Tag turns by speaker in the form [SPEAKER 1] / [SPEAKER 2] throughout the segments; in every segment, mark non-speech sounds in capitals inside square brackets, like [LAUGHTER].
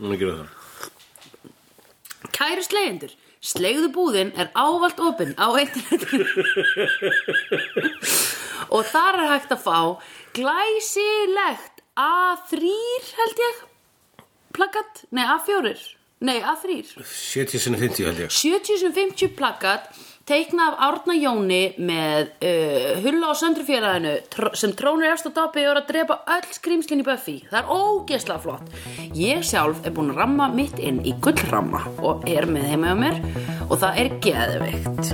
[SPEAKER 1] Núna gerum við það.
[SPEAKER 2] Kæru slegjendur, slegðu búðin er ávallt opinn á internetinu og þar er hægt að fá glæsilegt A3 held ég plakat, nei A4 nei A3
[SPEAKER 1] 70 sinni 50 held ég.
[SPEAKER 2] 70-50 plakat teikna af Árna Jóni með uh, Hulla og Söndrufélaginu tr sem trónur efst á doppi og er að drepa öll skrýmslin í Buffy. Það er ógeðslega flott. Ég sjálf er búin að ramma mitt inn í gullramma og er með heima hjá mér og það er geðveikt.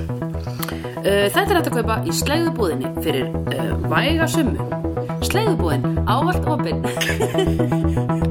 [SPEAKER 2] Uh, þetta er hægt að kaupa í slegðubúðinni fyrir uh, væga summu. Slegðubúðin, ávallt opinn. [LAUGHS]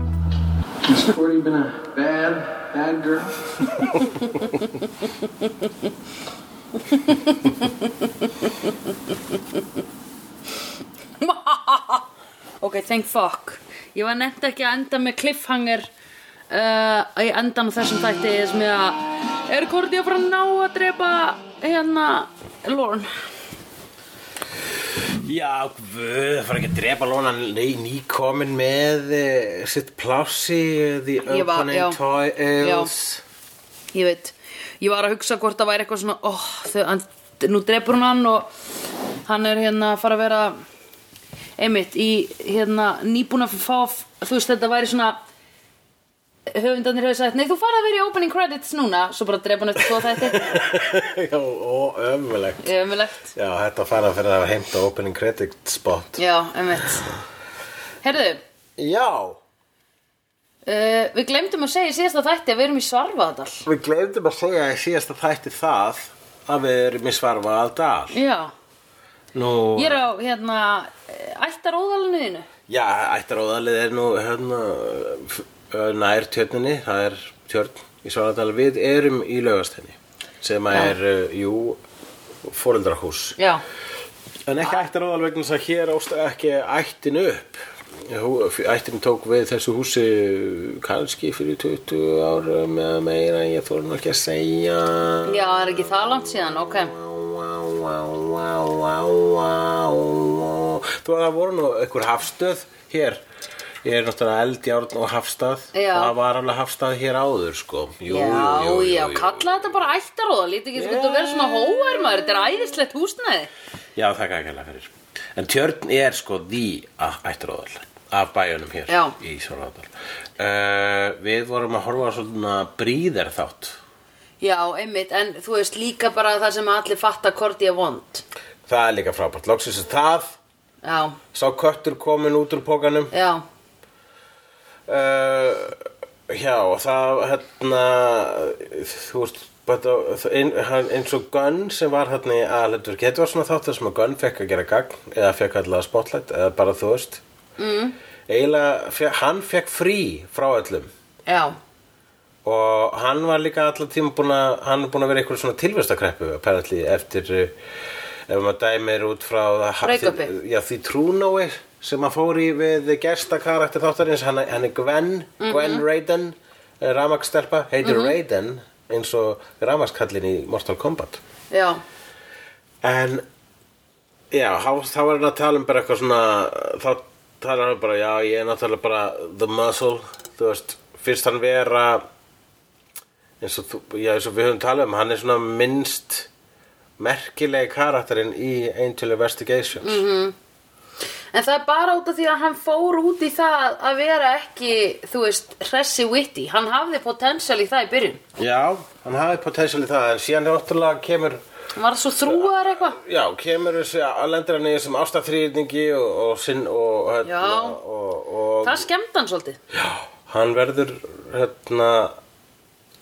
[SPEAKER 3] What have you been a bad, bad girl?
[SPEAKER 2] Ok, thank fuck Ég var nefnt ekki að enda með cliffhanger uh, í endan á þessum þætti sem ég að er Korti að fara að ná að drepa hérna Lorne
[SPEAKER 1] Já, guð, það fara ekki að drepa lóna Nei, nýkomin með uh, sitt plási eh, The
[SPEAKER 2] Ég var- já.
[SPEAKER 1] Opening Toy Ales
[SPEAKER 2] Ég veit, ég var að hugsa hvort það væri eitthvað svona oh, þau, hann, nú drepur hún hann og hann er hérna að fara að vera einmitt í hérna nýbúna fyrir fá þú veist þetta væri svona höfundarnir hefur sagt nei þú farið að vera í opening credits núna svo bara drepa hann eftir tvo þætti
[SPEAKER 1] [LAUGHS] Já, og ömulegt
[SPEAKER 2] ömulegt
[SPEAKER 1] Já, þetta fara að fyrir að heimta Opening Credit Spot
[SPEAKER 2] Já, einmitt Herðu,
[SPEAKER 1] Já,
[SPEAKER 2] uh, við glemdum að segja í síðasta þætti að við erum í Svarfaðadal
[SPEAKER 1] við gleymdum að segja í síðasta þætti það að við erum í svarfa að dal
[SPEAKER 2] Já,
[SPEAKER 1] Nú,
[SPEAKER 2] ég er á hérna eh, ættaróðalinu þínu
[SPEAKER 1] já, ættaróðalið er nú hérna f- ö, nær tjörninni, það er tjörn í svaradal, við erum í laugastenni sem að er, uh, jú fóreldrahús
[SPEAKER 2] Já,
[SPEAKER 1] En ekki ættaróðal vegna þess að hér ást ekki ættin upp. Hú- Ættin tók við þessu húsi kannski fyrir 20 árum eða meira, ég þóra nú ekki að segja.
[SPEAKER 2] já, það er ekki það langt síðan, ok
[SPEAKER 1] Þú að það voru nú einhver hafstöð hér. Ég er náttúrulega eldjárn og hafstað.
[SPEAKER 2] Já.
[SPEAKER 1] Það var alveg hafstað hér áður, sko. Jú,
[SPEAKER 2] Já,
[SPEAKER 1] jú, jú,
[SPEAKER 2] já,
[SPEAKER 1] jú.
[SPEAKER 2] kalla þetta bara ættaróðal Lítið ekki sko að vera svona hóar maður Þetta er æðislegt húsnæði
[SPEAKER 1] Já, þakka ekki hérna fyrir. En tjörn er sko því ættiróðal af bæjunum hér
[SPEAKER 2] Já.
[SPEAKER 1] í Svaradal. Uh, við vorum að horfa á svona bríðar þátt.
[SPEAKER 2] Já, einmitt, en þú veist líka bara það sem allir fatta Korti er vond
[SPEAKER 1] Það er líka frábært. Loksins er það,
[SPEAKER 2] Já,
[SPEAKER 1] sá köttur komin út úr pókanum.
[SPEAKER 2] já,
[SPEAKER 1] Uh, já, og það, hérna, þú veist, bara, það- ein, hann- eins og Gunn sem var hérna í aðleitur, þetta var svona þáttur sem að Gunn fekk að gera gagn eða fekk allavega spotlight eða bara þú veist. Mm. Eiginlega, fe- hann fekk frí frá öllum.
[SPEAKER 2] já,
[SPEAKER 1] og hann var líka allar tíma búin að hann er búin að vera eitthvað svona tilvistakreppu apparently eftir uh, ef maður dæmir út frá það-
[SPEAKER 2] Breakupi.
[SPEAKER 1] því- já, því trúnói sem hann fór í við gestakarakter þáttarins hann, hann er Gwen, Gwen Raiden ramakstelpa, heitir Raiden eins og ramakskallin í Mortal Kombat
[SPEAKER 2] já
[SPEAKER 1] En Já, þá, þá var hann að tala um bara eitthvað svona Þá talar hann bara, já, ég er náttúrulega bara The muscle, þú veist Fyrst hann vera eins og, þú, já, eins og við höfum talað um Hann er svona minnst merkilegi karakterinn í Angel Investigations mm -hmm.
[SPEAKER 2] En það er bara út af því að hann fór út í það að vera ekki, þú veist, hressi witty. Hann hafði potensial í það í byrjun.
[SPEAKER 1] Já, hann hafði potensial í það En síðan náttúrulega kemur
[SPEAKER 2] Hann var svo þrúaður eitthvað.
[SPEAKER 1] Já, kemur þessi að lendir hann í þessum ástafþrýðningi og, og sinn og,
[SPEAKER 2] Já.
[SPEAKER 1] og, og, og
[SPEAKER 2] Það skemmdi hann svolítið.
[SPEAKER 1] Já, hann verður hérna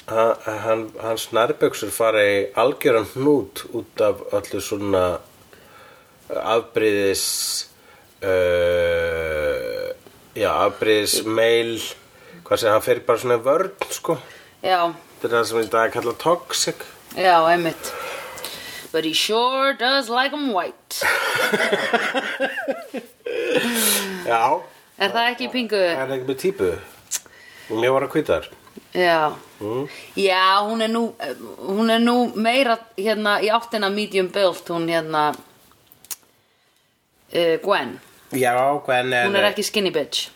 [SPEAKER 1] ha- hann, hans nærböksur fara í algjöran hnút út af öllu svona eh, afbriðis uh, já, afbriðis meil, hvað segja, hann fer bara svona í vörn, sko
[SPEAKER 2] Já,
[SPEAKER 1] þetta er það sem í dag er kallað toxic
[SPEAKER 2] já, einmitt But he sure does like 'em white
[SPEAKER 1] já,
[SPEAKER 2] Er það ekki pingu?
[SPEAKER 1] það er ekki með típu og mér var að kvita þar
[SPEAKER 2] Já Já, hún er nú hún er nú meira hérna í áttina medium built hún hérna uh, Gwen
[SPEAKER 1] já, Gwen er
[SPEAKER 2] Hún er ekki skinny bitch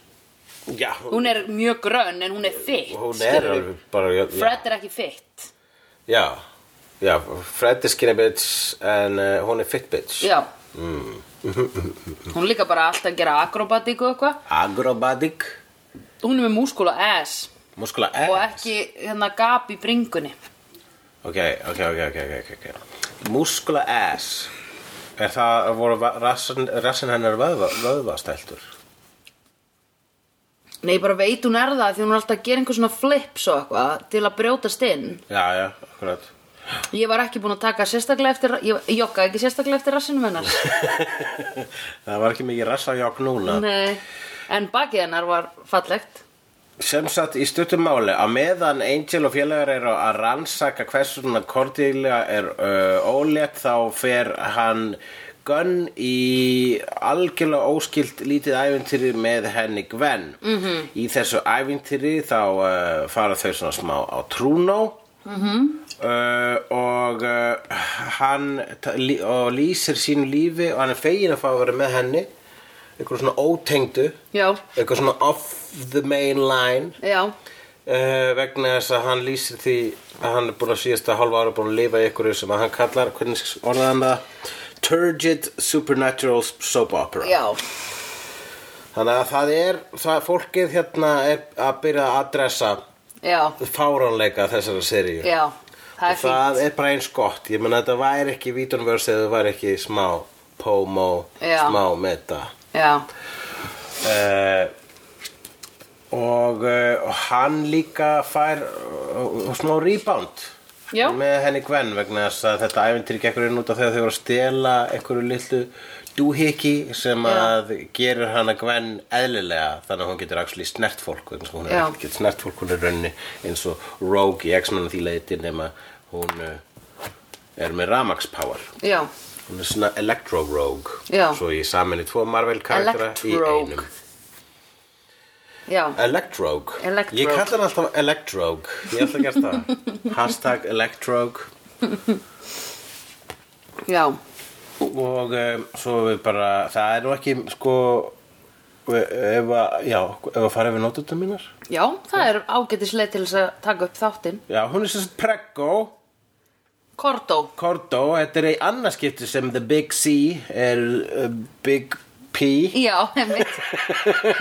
[SPEAKER 1] já,
[SPEAKER 2] Hún er mjög grönn en hún er fit
[SPEAKER 1] hún er
[SPEAKER 2] skilurðu.
[SPEAKER 1] alveg bara já,
[SPEAKER 2] Fred er ekki fit
[SPEAKER 1] já, já, Fred er skinny bitch en uh, hún er fit bitch
[SPEAKER 2] Já Hún er líka bara alltaf að gera akrobatík og eitthvað
[SPEAKER 1] agrobatic
[SPEAKER 2] Hún er með múskula ass
[SPEAKER 1] muskula
[SPEAKER 2] og
[SPEAKER 1] ass
[SPEAKER 2] ekki hérna gap í bringunni
[SPEAKER 1] ok, ok, ok, ok, ok, ok, ok muskula ass er það voru va- rassin, rassin hennar vöðva, vöðvastæltur
[SPEAKER 2] Nei, ég bara veit hún er það því hún er alltaf að gera einhver svona flips og eitthvað til að brjótast inn
[SPEAKER 1] já, já, akkurat [LAUGHS]
[SPEAKER 2] Ég var ekki búin að taka sérstaklega eftir ég joggaði ekki sérstaklega eftir rassinum hennar
[SPEAKER 1] [LAUGHS] það var ekki mikið rassajokk núna
[SPEAKER 2] Nei, en bakið hennar var fallegt
[SPEAKER 1] Sem sagt í stuttum máli að meðan Angel og félagar eru að rannsaka hversu svona Cordelia er uh, ólétt þá fer hann Gunn í algjörlega óskilt lítið ævintýri með henni Gwen. -hmm. Í þessu ævintýri þá uh, fara þau svona smá á trúnó uh, og uh, hann ta- lí- og lýsir sínu lífi og hann er fegin að fá að vera með henni eitthvað svona ótengdu
[SPEAKER 2] Já,
[SPEAKER 1] eitthvað svona off the main line
[SPEAKER 2] já,
[SPEAKER 1] uh, vegna þess að hann lýsir því að hann er búin að síðasta halva ára búin að lifa í ykkur sem að hann kallar, hvernig orðað hann það turgid supernatural soap opera
[SPEAKER 2] já
[SPEAKER 1] þannig að það er, það, fólkið hérna er að byrja að adressa
[SPEAKER 2] Já,
[SPEAKER 1] fáránleika þessara seríu
[SPEAKER 2] já Það er
[SPEAKER 1] Og
[SPEAKER 2] fínt
[SPEAKER 1] það er bara eins gott ég meina þetta væri ekki vítunverse eða það væri ekki smá pomo,
[SPEAKER 2] Já.
[SPEAKER 1] smá meta
[SPEAKER 2] Já,
[SPEAKER 1] Eh, og uh, hann líka fær uh, smá rebound
[SPEAKER 2] Já.
[SPEAKER 1] með henni Gwen vegna þess að þetta ævintýri gekkur inn út af þegar þau voru að stela einhverju lillu dúhiki sem að gerir hana Gwen eðlilega þannig að hún getur actually snert fólk vegna þess að hún er
[SPEAKER 2] Já.
[SPEAKER 1] ekki getur snert fólk hún er raunni eins og Rogue í X-Men að því leiti nema hún uh, er með Ramax power
[SPEAKER 2] já,
[SPEAKER 1] hún er svona Electro-Rogue
[SPEAKER 2] Já.
[SPEAKER 1] svo ég saminni tvo Marvel karaktera í
[SPEAKER 2] Electrogue.
[SPEAKER 1] einum
[SPEAKER 2] já
[SPEAKER 1] Electrogue.
[SPEAKER 2] Electrogue.
[SPEAKER 1] Ég kalla hann alltaf Electrogue. Ég ætla að gera það. Hashtag Electrogue.
[SPEAKER 2] Já,
[SPEAKER 1] Og um, svo við bara, það er nú ekki, sko, við- ef að, já, ef að fara yfir nótutum mínar.
[SPEAKER 2] já, það er ágætisleið til þess að taka upp þáttinn
[SPEAKER 1] Já, hún er sem sagt Preggo,
[SPEAKER 2] Kortó,
[SPEAKER 1] Kordo, þetta er í annarskipti sem The Big C er uh, Big P.
[SPEAKER 2] já, einmitt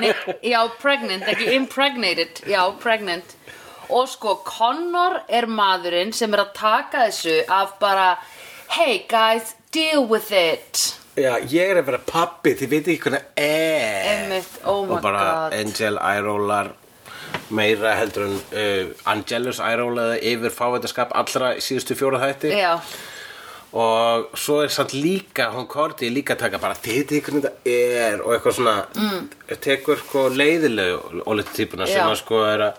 [SPEAKER 2] Nei, Já, pregnant, ekki impregnated Já, pregnant Og sko, Connor er maðurinn sem er að taka þessu af bara Hey guys, deal with it
[SPEAKER 1] Já, ég er að vera pappi, þið veit ekki hvernig er.
[SPEAKER 2] Einmitt, oh my
[SPEAKER 1] og bara
[SPEAKER 2] god
[SPEAKER 1] Angel ærólar meira heldur en uh, Angelus ærólaði yfir fávitaskap allra síðustu fjóra þætti
[SPEAKER 2] Já,
[SPEAKER 1] og svo er samt líka hún Korti líka að taka bara þið ykkur þetta er og eitthvað svona mm. tekur sko leiðilegu ólítið típuna sem
[SPEAKER 2] Já.
[SPEAKER 1] að sko er að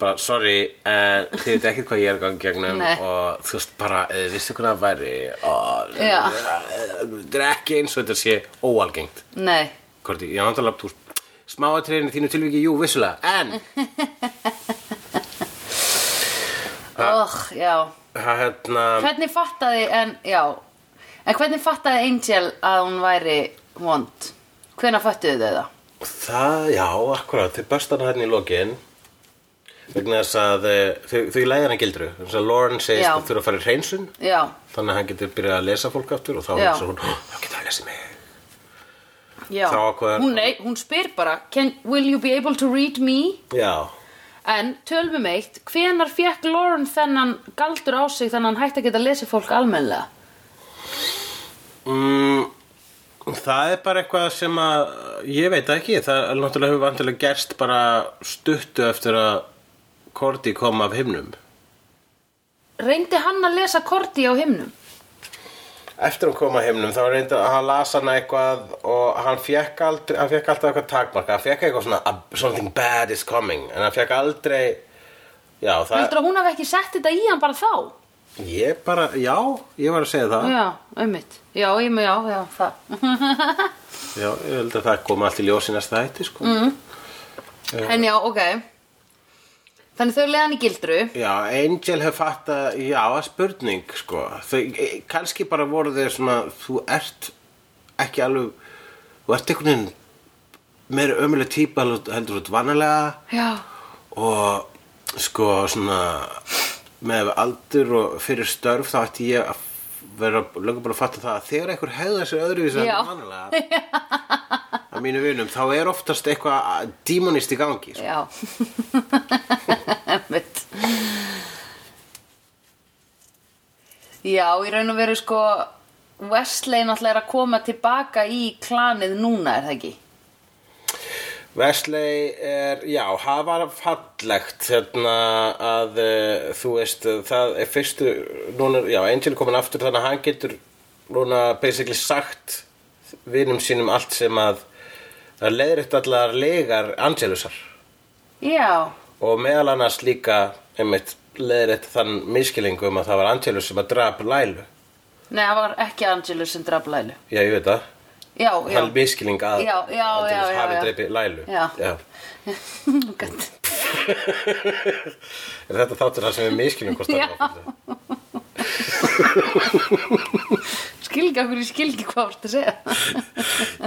[SPEAKER 1] bara sorry en þið veit ekkert hvað ég er að gangi gegnum
[SPEAKER 2] Nei.
[SPEAKER 1] og þú veist bara eh, vissi hvernig það væri og
[SPEAKER 2] Já.
[SPEAKER 1] þetta er ekki eins og þetta sé óalgengt
[SPEAKER 2] nei
[SPEAKER 1] Korti, já, náttúrulega, þú smáatriðin í þínu tilviki, jú, vissulega,
[SPEAKER 2] [LAUGHS]
[SPEAKER 1] en
[SPEAKER 2] Oh, já.
[SPEAKER 1] það hérna,
[SPEAKER 2] Hvernig fattaði en, já En hvernig fattaði Angel að hún væri vond? Hvenær föttuðu þau það?
[SPEAKER 1] það, já, akkurat, þau bastana hérna í lokin vegna þess að eh, þau, þau læðir hann gildru, þess að Lauren segist
[SPEAKER 2] Já.
[SPEAKER 1] að þurfa að fara í hreinsun,
[SPEAKER 2] Já,
[SPEAKER 1] þannig að hann getur byrjað að lesa fólk aftur og þá
[SPEAKER 2] Já.
[SPEAKER 1] hugsa hún, "Hó, þá getur hann lesið mig.
[SPEAKER 2] já
[SPEAKER 1] Þá ákvað-
[SPEAKER 2] Hún, nei, hún spyr bara Can, Will you be able to read me?
[SPEAKER 1] Já,
[SPEAKER 2] En tölvum eitt, hvenær fekk Lauren þennan galdur á sig þannig að hann hætti að geta lesið fólk almennlega?
[SPEAKER 1] mm, Það er bara eitthvað sem að, ég veit það ekki, það er náttúrulega hefur vantilega gerst bara stuttu eftir að Korti kom af himnum.
[SPEAKER 2] Reyndi hann að lesa korti á himnum?
[SPEAKER 1] Eftir að koma himnum þá reyndi að hann lasa hana eitthvað og hann fekk aldrei, hann fekk alltaf eitthvað takmarka, hann fekk eitthvað svona "A- something bad is coming, en hann fekk aldrei, já það,
[SPEAKER 2] Heldur að hún hafi ekki sett þetta í hann bara þá?
[SPEAKER 1] ég bara, já, ég var að segja það,
[SPEAKER 2] Já, einmitt. Já, ég með, já, já, það.
[SPEAKER 1] já, ég held að það kom allt í ljós í næsta hætti, sko. Mm.
[SPEAKER 2] Mhm. En já, ok. Þannig þau leiða hann í gildru.
[SPEAKER 1] Já, Angel hef fatt að, já, að spurning, sko. Þau, e, kannski bara voru þau svona, þú ert ekki alveg, þú ert einhvern veginn meira ömuleg típa heldur heldur þú ert vanalega
[SPEAKER 2] Já.
[SPEAKER 1] og sko svona með aldur og fyrir störf þá ætti ég að vera lögum bara að fatta það að þegar einhver hegða sér öðruvísi
[SPEAKER 2] Já.
[SPEAKER 1] heldur en vanalega að mínu vinum, þá er oftast eitthvað dímonist í gangi, sko.
[SPEAKER 2] Já. [LAUGHS] einmitt. Já, í raun og veru sko, Wesley náttúrulega er að koma tilbaka í klanið núna, er það ekki?
[SPEAKER 1] Wesley er, já, það var fallegt hérna að uh, þú veist, uh, það er fyrstu, núna, já, Angel er komin aftur þannig að hann getur núna basically sagt vinum sínum allt sem að að leiðrétt allar legar Angelusar
[SPEAKER 2] Já.
[SPEAKER 1] og meðal annars líka einmitt leiðrétt þann miskilingum að það var Angelus sem að drap Lælu
[SPEAKER 2] Nei, það var ekki Angelus sem draf Lælu.
[SPEAKER 1] Já, ég veit það
[SPEAKER 2] Já, já.
[SPEAKER 1] Hann miskiling að
[SPEAKER 2] Já, já, já,
[SPEAKER 1] Angelus
[SPEAKER 2] já,
[SPEAKER 1] hafi
[SPEAKER 2] já.
[SPEAKER 1] dreipið Lælu
[SPEAKER 2] Já.
[SPEAKER 1] já.
[SPEAKER 2] [LAUGHS] Gott.
[SPEAKER 1] [LAUGHS] Er þetta þáttur það sem við miskilum hvort það
[SPEAKER 2] Já.
[SPEAKER 1] er áfram?
[SPEAKER 2] Skil ekki okkur, ég skil ekki hvað þú ert að segja.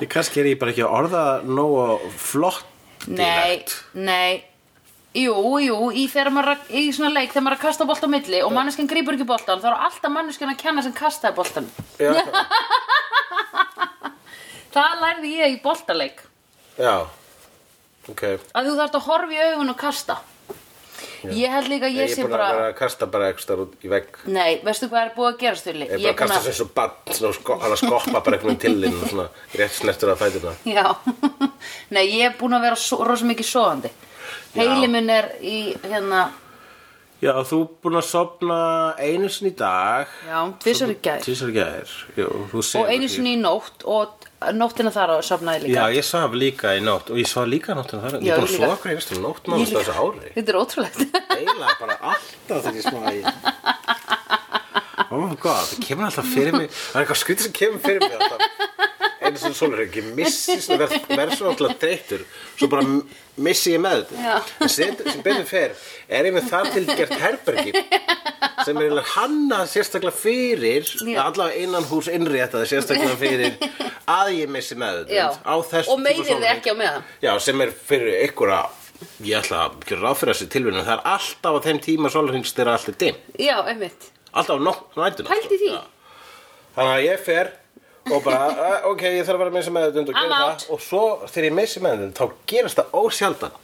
[SPEAKER 1] Ég kannski er ég bara ekki að orða nógu flott
[SPEAKER 2] Nei, nei Jú, jú, í, þegar maður, er að- í svona leik þegar maður er að kasta bolt á milli og manneskinn grýpur ekki boltan þá er alltaf manneskinn að kenna sem kastaði boltan
[SPEAKER 1] Já,
[SPEAKER 2] Það lærði ég í boltaleik
[SPEAKER 1] já, ok
[SPEAKER 2] að þú þarft að horfa í augun og kasta Ég held líka að ég,
[SPEAKER 1] Ég er
[SPEAKER 2] sé
[SPEAKER 1] búin að vera
[SPEAKER 2] bara
[SPEAKER 1] að kasta bara ekstar út í vegg
[SPEAKER 2] Nei, veistu hvað er búið að gera stöli?
[SPEAKER 1] Ég er bara að kasta sem svo bann svona, sko, hann að skoppa bara einhvern veginn til þinn og svona rétt snertur að fætina
[SPEAKER 2] [LAUGHS] Já, nei, ég er búin að vera svo, rosa mikið svoandi Heili minn er í, hérna,
[SPEAKER 1] Já, þú er búin að sopna einu sinni í dag
[SPEAKER 2] já, tvisar í gær
[SPEAKER 1] Tísar gæðir Jú, þú
[SPEAKER 2] og einu sinni í nótt og nóttina þar á sofnaði líka
[SPEAKER 1] Já, ég svaf líka í nótt og ég svaf líka nóttina þar Ég
[SPEAKER 2] Já,
[SPEAKER 1] er búin
[SPEAKER 2] ég
[SPEAKER 1] að
[SPEAKER 2] líka.
[SPEAKER 1] sofa hverjast um nótt
[SPEAKER 2] Ég
[SPEAKER 1] nánast á
[SPEAKER 2] líka.
[SPEAKER 1] þessu ári
[SPEAKER 2] Þetta er ótrúlegt [LAUGHS]
[SPEAKER 1] eiginlega bara alltaf þegar ég smaði Oh my god, það kemur alltaf fyrir mig Það er eitthvað skrítið sem kemur fyrir mig alltaf Einu sem svolur ekki, missi svona verð, verð svo alltaf þreyttur Svo bara m- missi ég með þetta
[SPEAKER 2] Já.
[SPEAKER 1] En set, sem betur fer er ég með þar til gert herbergi sem er eiginlega hannað sérstaklega fyrir
[SPEAKER 2] Já.
[SPEAKER 1] allavega innan hús innréttaði sérstaklega fyrir að ég missi með
[SPEAKER 2] Já.
[SPEAKER 1] þetta á þess
[SPEAKER 2] Og meiðir þig ekki á meðan.
[SPEAKER 1] Já, sem er fyrir ykkur að ég ætla að gera ráð fyrir þessi tilvinnum það er alltaf á þeim tíma sólarhings þegar allt er dim
[SPEAKER 2] Já, einmitt
[SPEAKER 1] alltaf á nótt- nætuna
[SPEAKER 2] Pældi því.
[SPEAKER 1] Já. þannig að ég fer og
[SPEAKER 2] [LAUGHS]
[SPEAKER 1] bara, "Eh, ok, ég þarf að vera að missa meðutund og
[SPEAKER 2] I'm
[SPEAKER 1] gera
[SPEAKER 2] out.
[SPEAKER 1] það og svo þegar ég missi meðutund þá gerast það ósjaldan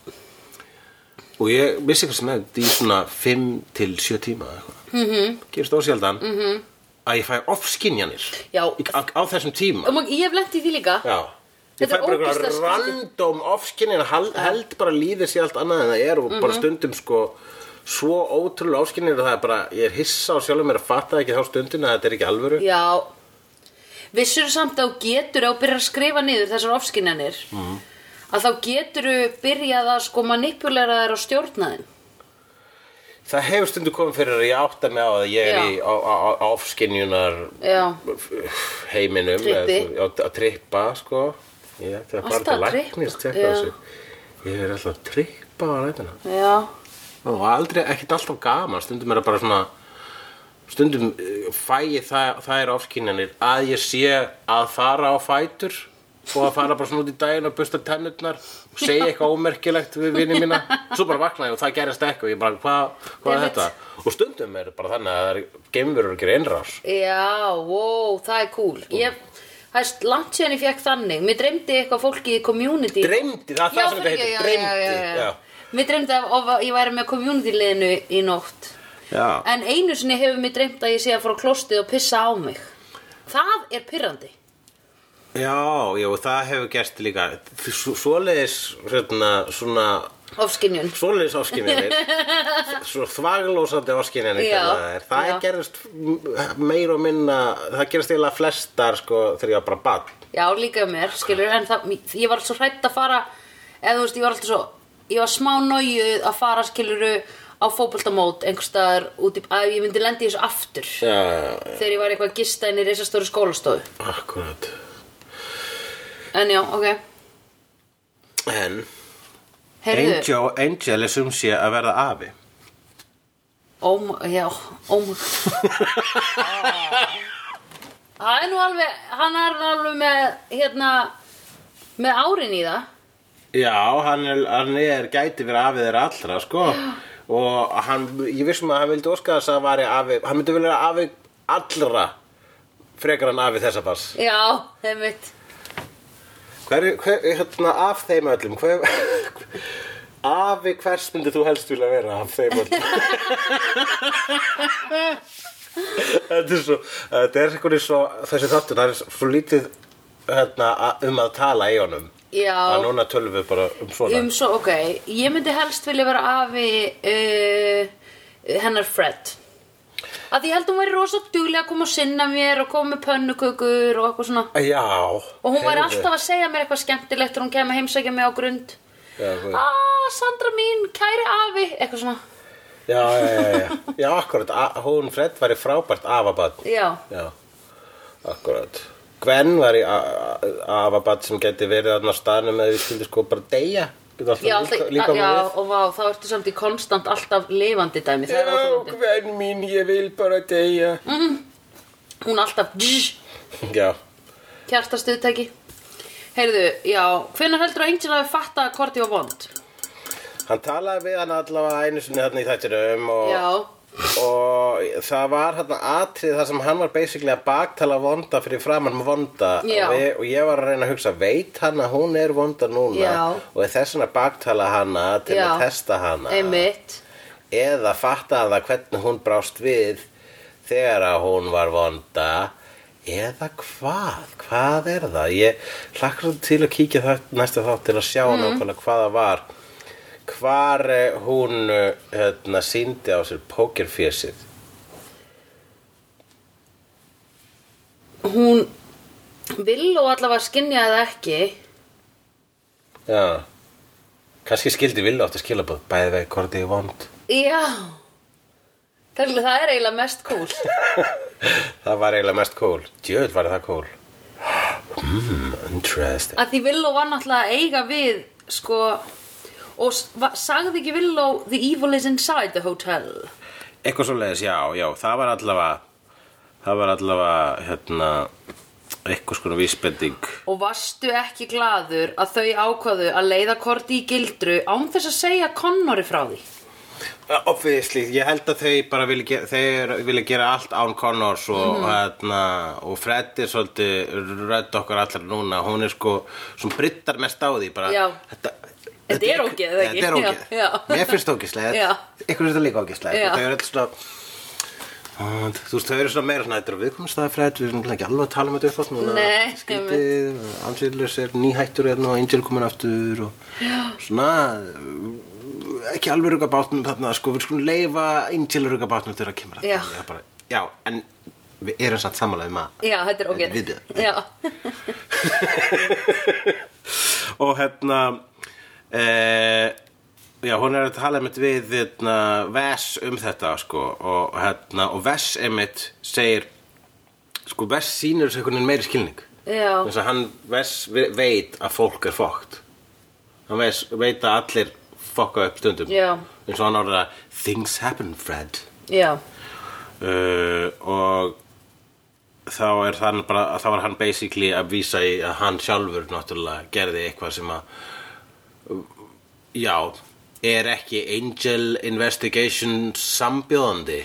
[SPEAKER 1] og ég missi kannski meðutund í svona 5 til 7 tíma eða eitthvað mm
[SPEAKER 2] Mhm.
[SPEAKER 1] -hmm. gerist ósjaldan mm -hmm. að ég fæ ofskinjanir
[SPEAKER 2] Já.
[SPEAKER 1] á, á þessum tíma
[SPEAKER 2] Og maður- Ég hef lent í því líka
[SPEAKER 1] Já Ég fæ
[SPEAKER 2] Þetta er
[SPEAKER 1] bara
[SPEAKER 2] ógeðslega
[SPEAKER 1] eitthvað
[SPEAKER 2] skrítið.
[SPEAKER 1] random ofskynnin held bara lífið sér allt annað en það er og bara
[SPEAKER 2] Mhm.
[SPEAKER 1] stundum sko svo ótrúlega ofskynnin að það er bara ég er hissa á sjálfum mér að fatta ekki þá stundin að þetta er ekki alvöru
[SPEAKER 2] Já Vissur samt að þú getur að þú byrjar að skrifa niður þessar ofskinjanir
[SPEAKER 1] Mhm.
[SPEAKER 2] að þá getur þú byrjað að sko manipulera þær og stjórna þeim
[SPEAKER 1] Það hefur stundum komið fyrir að ég átta mig á að ég er
[SPEAKER 2] Já.
[SPEAKER 1] í á- á- á- á ofskynjunar
[SPEAKER 2] Já,
[SPEAKER 1] heiminum
[SPEAKER 2] Trippi.
[SPEAKER 1] eða þú- já, að trippa sko ég ætti að fara
[SPEAKER 2] Alltaf
[SPEAKER 1] til
[SPEAKER 2] að
[SPEAKER 1] læknis
[SPEAKER 2] trippa,
[SPEAKER 1] tjekka
[SPEAKER 2] já.
[SPEAKER 1] þessu ég er alltaf að trippa á rætina
[SPEAKER 2] já
[SPEAKER 1] og aldrei, ekkert alltaf gaman stundum er það bara svona stundum eh, fæ ég það, það er ofskynjanir að ég sé að fara á fætur og að fara bara svona út í daginn og busta tennurnar og segja eitthvað ómerkilegt við vinni mína svo bara vakna ég og það gerist ekki og ég bara hvað hva er
[SPEAKER 2] Einmitt.
[SPEAKER 1] þetta og stundum er bara þannig að það er geimverur að gera innrás
[SPEAKER 2] Já, wow, það er cool
[SPEAKER 1] Sko.
[SPEAKER 2] Ég, það er langt síðan ég fekk þannig Mér dreymdi eitthvað fólki í community
[SPEAKER 1] dreymdi, það er það sem þetta
[SPEAKER 2] fyrirgefðu,
[SPEAKER 1] heitir,
[SPEAKER 2] já,
[SPEAKER 1] dreymdi
[SPEAKER 2] já, já, já. Mér dreymdi af, of að ég væri með community liðinu í nótt
[SPEAKER 1] Já.
[SPEAKER 2] En einu sinni hefur mér dreymt að ég sé að fara á klostið og pissa á mig Það er pyrrandi
[SPEAKER 1] Já, já, það hefur gerst líka Svo- Svoleiðis hérna, svona,
[SPEAKER 2] Ofskinjun
[SPEAKER 1] svoleiðis áskininir Svo þvaglósandi áskininir
[SPEAKER 2] Já,
[SPEAKER 1] Það
[SPEAKER 2] já.
[SPEAKER 1] gerist meir og minna Það gerist eiginlega flestar sko, þegar ég var bara bann
[SPEAKER 2] Já, líka hjá mér, skilur, en það, ég var svo hrætt að fara, eða þú veist, ég var alltaf svo, ég var smá nájuð að fara, skiluru, á fótboltamót einhvers staðar út í, að ég myndi lendi þessu aftur
[SPEAKER 1] Já,
[SPEAKER 2] þegar ég var eitthvað að gista inn í reisastóru skólastofu.
[SPEAKER 1] akkurat
[SPEAKER 2] En já, ok,
[SPEAKER 1] En
[SPEAKER 2] heyrðu,
[SPEAKER 1] Angel, Angel er sum sé að verða afi
[SPEAKER 2] óm, já,
[SPEAKER 1] [LAUGHS]
[SPEAKER 2] óm. Það er nú alveg, hann er alveg með, hérna, með árin í það.
[SPEAKER 1] Já, hann er, hann er gæti verið afið þeirra allra,
[SPEAKER 2] [GASPS]
[SPEAKER 1] sko Og hann, ég vissum að hann vildi óska þess að hann væri afi Hann myndi vilja vera afi allra Frekar en afi þessa pass
[SPEAKER 2] Já, heimitt.
[SPEAKER 1] Hver, hver, hérna, af þeim öllum hver, Afi hvers myndi þú helst vilja vera af þeim öllum Þetta er svo Þetta er einhvernig svo Þessi þáttur, það er svo lítið hérna, a- um að tala í honum
[SPEAKER 2] Já.
[SPEAKER 1] Að núna tölum við bara um svona
[SPEAKER 2] um svo, ok, ég myndi helst vilja vera afi uh, hennar Fred að því ég held hún væri rosa duglega að koma og sinna mér og koma með pönnukökur og eitthvað svona
[SPEAKER 1] Já
[SPEAKER 2] og hún væri alltaf að segja mér eitthvað skemmtilegt þegar hún kemur að heimsækja mig á grund
[SPEAKER 1] Já,
[SPEAKER 2] aaa, Sandra mín, kæri afi eitthvað svona,
[SPEAKER 1] já, já, já, já. já akkurat, a- hún Fred var í frábært afabat
[SPEAKER 2] já,
[SPEAKER 1] Já, akkurat Gwen var í afabat sem geti verið þarna á staðnum eða við skildum sko bara deyja Geta alltaf
[SPEAKER 2] já,
[SPEAKER 1] líka,
[SPEAKER 2] alltaf,
[SPEAKER 1] líka
[SPEAKER 2] já
[SPEAKER 1] við.
[SPEAKER 2] og vá, þá ertu samt í konstant alltaf lifandi dæmi, það er
[SPEAKER 1] Já,
[SPEAKER 2] óþolandi
[SPEAKER 1] Gwen mín, ég vil bara deyja
[SPEAKER 2] hún alltaf, dzz,
[SPEAKER 1] Mm. Já,
[SPEAKER 2] kjartastuðtæki heyrðu, já, hvenær heldur að Angel hafi fattað að hvort ég var vond?
[SPEAKER 1] hann talaði við hann allavega einu sinni þarna í þættinum og,
[SPEAKER 2] Já,
[SPEAKER 1] og það var þarna atrið þar sem hann var basically að baktala vonda fyrir framann með vonda
[SPEAKER 2] Já.
[SPEAKER 1] og, við, og ég var að reyna að hugsa, veit hann að hún er vonda núna
[SPEAKER 2] Já.
[SPEAKER 1] og er þess vegna að baktala hana til
[SPEAKER 2] Já.
[SPEAKER 1] að testa hana
[SPEAKER 2] einmitt
[SPEAKER 1] eða fatta það hvernig hún brást við þegar að hún var vonda eða hvað, hvað er það ég hlakkar til að kíkja það næsta þátt til að sjá mm. nákvæmlega hvað það var hvar eh, hún eh, hérna, síndi á sér pókerfésið
[SPEAKER 2] Hún vill og allavega skinja það ekki
[SPEAKER 1] já kannski skildi vilja átt að skila búð bæði vegi hvort ég er vond
[SPEAKER 2] Já Það er- það er eiginlega mest cool
[SPEAKER 1] það var eiginlega mest cool, djöð var það cool mm, interesting
[SPEAKER 2] að því Villó var náttúrulega að eiga við sko og s- va- sagði ekki Villó the evil is inside the hotel
[SPEAKER 1] Eitthvað svo leiðis, já, já, það var allavega það var allavega hérna, eitthvað skona vísbending
[SPEAKER 2] og varstu ekki gladur að þau ákvaðu að leiða Korti í gildru án þess að segja Connori frá því
[SPEAKER 1] Uh, Obviously, ég held að þau bara vilja gera, þeir vilja gera allt án Connors og,
[SPEAKER 2] Mhm.
[SPEAKER 1] hérna, og Fred er svolítið rödd okkar allar núna, hún er sko sem brittar mest á því bara,
[SPEAKER 2] Já.
[SPEAKER 1] þetta,
[SPEAKER 2] Þetta er ógeð, eða ekki?
[SPEAKER 1] Þetta er ógeð,
[SPEAKER 2] Já, já.
[SPEAKER 1] mér finnst það ógeðslegt
[SPEAKER 2] Já.
[SPEAKER 1] ykkur finnst það líka ógeðslegt
[SPEAKER 2] Já.
[SPEAKER 1] og þau eru alltaf svona "Ah, Þú veist, þau eru svona meira svona þetta er viðkomstæða Fred, við erum náttúrulega ekki alveg að tala um þetta upp átt núna
[SPEAKER 2] Nei,
[SPEAKER 1] skrítið, Angelus er nýhættur hérna og Angel komin aftur og svona uh, ekki alveg ruka bátnum þarna sko, við skulum leifa Angel að ruka bátnum þegar það kemur aftur.
[SPEAKER 2] Já.
[SPEAKER 1] Ég bara, já, en við erum satt samanlega um að
[SPEAKER 2] Já, þetta er ógeð
[SPEAKER 1] Við þau.
[SPEAKER 2] Já,
[SPEAKER 1] og hérna e, já, hún er að tala einmitt við hérna, Vess um þetta sko, og, hérna, og Vess einmitt segir sko, Vess sýnur þessu einhvern veginn meiri skilning
[SPEAKER 2] Já.
[SPEAKER 1] þess að hann Vess ve- veit að fólk er fókt hann Vess veit að allir fokka upp stundum
[SPEAKER 2] Já.
[SPEAKER 1] eins og hann orða things happen Fred
[SPEAKER 2] já
[SPEAKER 1] uh, og þá er hann bara þá er hann basically að vísa í að hann sjálfur náttúrulega gerði eitthvað sem að já er ekki Angel Investigation sambjóðandi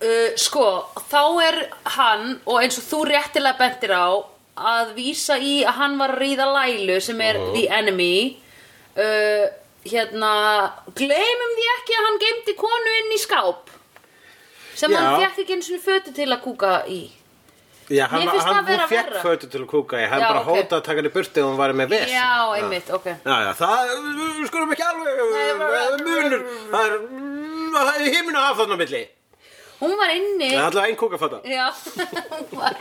[SPEAKER 2] Uh, sko, þá er hann og eins og þú réttilega bentir á að vísa í að hann var að ríða Lælu sem er the enemy uh, hérna gleymum því ekki að hann geymdi konu inn í skáp
[SPEAKER 1] Já.
[SPEAKER 2] sem hann fekk ekki eins og fötu til að kúka í
[SPEAKER 1] Já, hann,
[SPEAKER 2] Mér finnst
[SPEAKER 1] hann,
[SPEAKER 2] það vera
[SPEAKER 1] hún fekk
[SPEAKER 2] verra.
[SPEAKER 1] fötu til að kúka í, hann
[SPEAKER 2] Já,
[SPEAKER 1] bara
[SPEAKER 2] ok.
[SPEAKER 1] hóta að taka hann í burti og hún var með ves.
[SPEAKER 2] Já, einmitt, ok
[SPEAKER 1] Já, já, það við skulum ekki alveg,
[SPEAKER 2] Nei, bara-
[SPEAKER 1] það er munur, það er, það er himinu af þarna á milli.
[SPEAKER 2] Hún var inni
[SPEAKER 1] Það er allavega einn kúkafata.
[SPEAKER 2] Já, [LAUGHS] hún var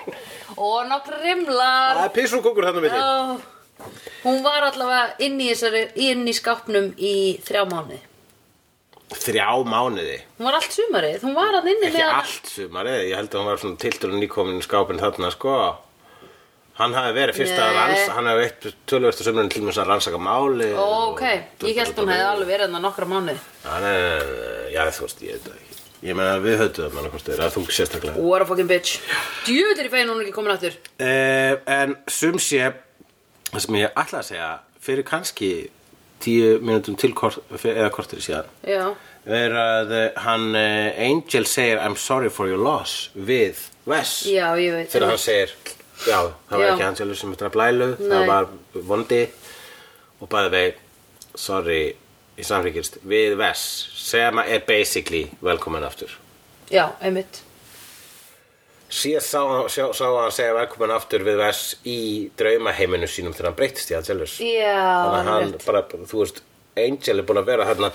[SPEAKER 2] Og nokkra rimlar
[SPEAKER 1] Það er pissum kúkur þarna á milli.
[SPEAKER 2] Ó, Hún var allavega inni í, þessari, inni í skápnum í þrjá mánuði
[SPEAKER 1] Þrjá mánuði,
[SPEAKER 2] Hún var allt sumarið, hún var allavega inni
[SPEAKER 1] ekki
[SPEAKER 2] með-
[SPEAKER 1] allt sumarið, ég held að hún var svona tilturinn nýkomin í skápinn þarna, sko. Hann hafi verið fyrst að
[SPEAKER 2] Nei.
[SPEAKER 1] rannsaka, hann hafi veitt tölvörstu sömurinn til með að rannsaka máli.
[SPEAKER 2] Ó, ok, ég held hún hefði alveg verið hann nokkra mánuði
[SPEAKER 1] Já, nei, nei, nei, nei, eh, já, þú veist, ég veit það ekki. Ég meina við höfðum hann hvort þeir að þú sérstaklega.
[SPEAKER 2] What a fucking bitch Djöfull er í fegin hún er ekki komin aftur
[SPEAKER 1] Uh, en sum sé, það sem ég ætla að segja, fyrir kannski tíu mínútum til kort, eða kortir síðan,
[SPEAKER 2] Já,
[SPEAKER 1] er að eh, hann, uh, Angel segir I'm sorry for your loss við Wes.
[SPEAKER 2] já, ég veit
[SPEAKER 1] Þegar hann segir, já, það var
[SPEAKER 2] Já.
[SPEAKER 1] ekki hann sjálfur sem þetta blælu,
[SPEAKER 2] Nei.
[SPEAKER 1] það var vondi og bæði vei, sorry, í samfélgist, við Wes, sem er basically velkomin aftur.
[SPEAKER 2] Já, einmitt
[SPEAKER 1] síðan sá, sá, sá hann segja velkomin aftur við vers í draumaheiminu sínum þegar hann breyttist í hann sjálfur
[SPEAKER 2] Já,
[SPEAKER 1] þannig að hann
[SPEAKER 2] einmitt
[SPEAKER 1] bara, þú veist Angel er búin að vera þarna